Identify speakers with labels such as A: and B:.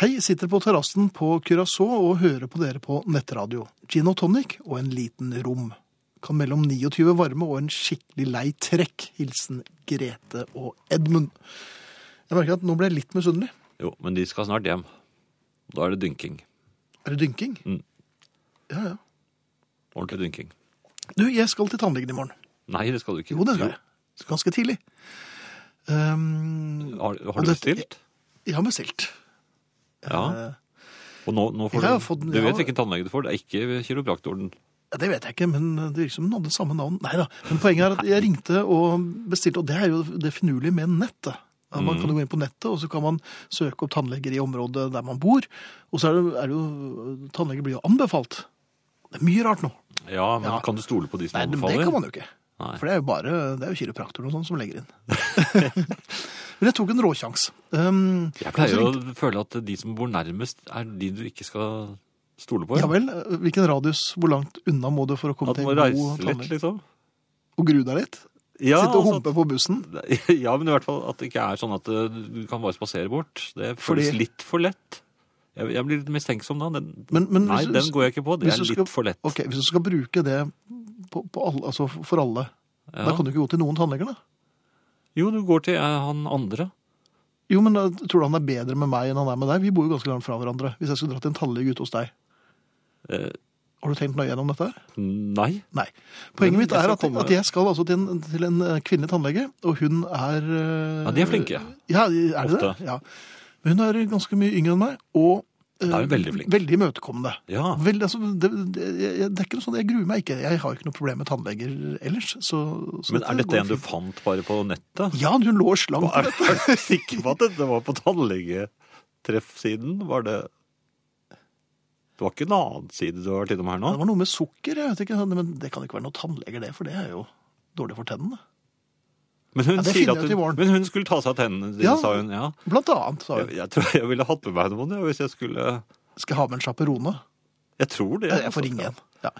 A: Hei, sitter på terrassen på Curacao og hører på dere på nettradio. Gin og tonic og en liten rom. Kan melde om 29 varme og en skikkelig lei trekk. Hilsen Grete og Edmund. Jeg merker at nå ble jeg litt misunnelig.
B: Jo, men de skal snart hjem. Da er det dynking.
A: Er det dynking?
B: Mm.
A: Ja, ja.
B: Ordentlig dynking.
A: Du, jeg skal til tannlegen i morgen.
B: Nei, det skal du ikke.
A: Jo, det skal jeg. Ganske tidlig. Um,
B: Har,
A: Og
B: har du
A: det-
B: bestilt?
A: jeg har bestilt.
B: Ja.
A: Eh,
B: Og nå, nå får
A: Jeg har
B: du
A: fått den,
B: Du
A: jeg
B: vet
A: har-
B: hvilken tannlege du får. Det er ikke kiropraktoren.
A: Ja, Det vet jeg ikke, men det virker som den hadde samme navn. Neida, men poenget er at jeg ringte og bestilte, og det er jo det finurlige med nettet. Ja, Man kan jo gå inn på nettet, og så kan man søke opp tannleger i området der man bor. Og så er det, er det jo Tannleger blir jo anbefalt. Det er mye rart nå.
B: Ja, men
A: Ja.
B: kan du stole på de som
A: Nei, men
B: anbefaler?
A: det kan man jo ikke.
B: Nei.
A: For det er jo bare det er jo kiropraktoren og sånn som legger inn. men jeg tok en råkjangs. Um,
B: Jeg pleier jo å føle at de som bor nærmest, er de du ikke skal stole på.
A: Ja vel, hvilken radius, hvor langt unna må du for å komme
B: At du
A: til
B: må
A: en god
B: reise litt,
A: tannlege?
B: liksom.
A: Og grue deg litt?
B: Ja,
A: Sitte og
B: altså
A: humpe på bussen?
B: at- ja, men i hvert fall at det ikke er sånn at eh, du kan bare spasere bort. Det føles
A: Fordi-
B: litt for lett. Jeg, jeg blir litt mistenksom da. Den,
A: Men- men
B: nei,
A: hvis du-
B: den går jeg ikke på. Det
A: hvis
B: er
A: du
B: litt
A: skal-
B: for lett.
A: Ok, Hvis du skal bruke det på, på alle, altså for alle,
B: Ja.
A: da kan du ikke gå til noen tannleger, da?
B: Jo, du går til eh, han andre.
A: Jo, men da, tror du han er bedre med meg enn han er med deg? Vi bor jo ganske langt fra hverandre. Hvis jeg skulle dratt til en tannlege ute hos deg,
B: Eh,
A: har du tenkt nøye gjennom dette? her?
B: nei.
A: Nei.
B: Men
A: Poenget mitt
B: jeg
A: er
B: skal
A: at,
B: komme-
A: at jeg skal altså til en, til en eh, kvinnelig tannlege, og hun er eh,
B: Ja, de er flinke.
A: Ja, er de det?
B: Ofte.
A: Ja. Men hun er ganske mye yngre enn meg, og eh,
B: Da er hun veldig flink.
A: veldig imøtekommende.
B: Ja.
A: Veldig, altså, det, det, jeg- det er ikke noe sånn, Jeg gruer meg ikke. Jeg har jo ikke noe problem med tannleger ellers. Så, så
B: Men er dette
A: går
B: en du
A: fint.
B: fant bare på nettet?
A: Ja, hun lå slang på
B: Er,
A: dette.
B: er du sikker på at dette var på tannlegetreffsiden? Var det Det var ikke en annen side du har vært innom her nå?
A: Det var noe med sukker, jeg vet ikke, men det kan ikke være noen tannleger, det, for det er jo dårlig for tennene.
B: Men hun,
A: Ja, det
B: sier
A: finner
B: at
A: jeg
B: hun,
A: til våren.
B: men hun skulle ta seg av tennene dine,
A: Ja.
B: sa hun. Ja.
A: Blant annet, sa hun.
B: Jeg, jeg tror jeg ville hatt med meg noen jeg, hvis jeg skulle
A: Skal jeg ha med en sjaperone?
B: Jeg tror det.
A: Jeg jeg får
B: altså.
A: ringe en. Ja.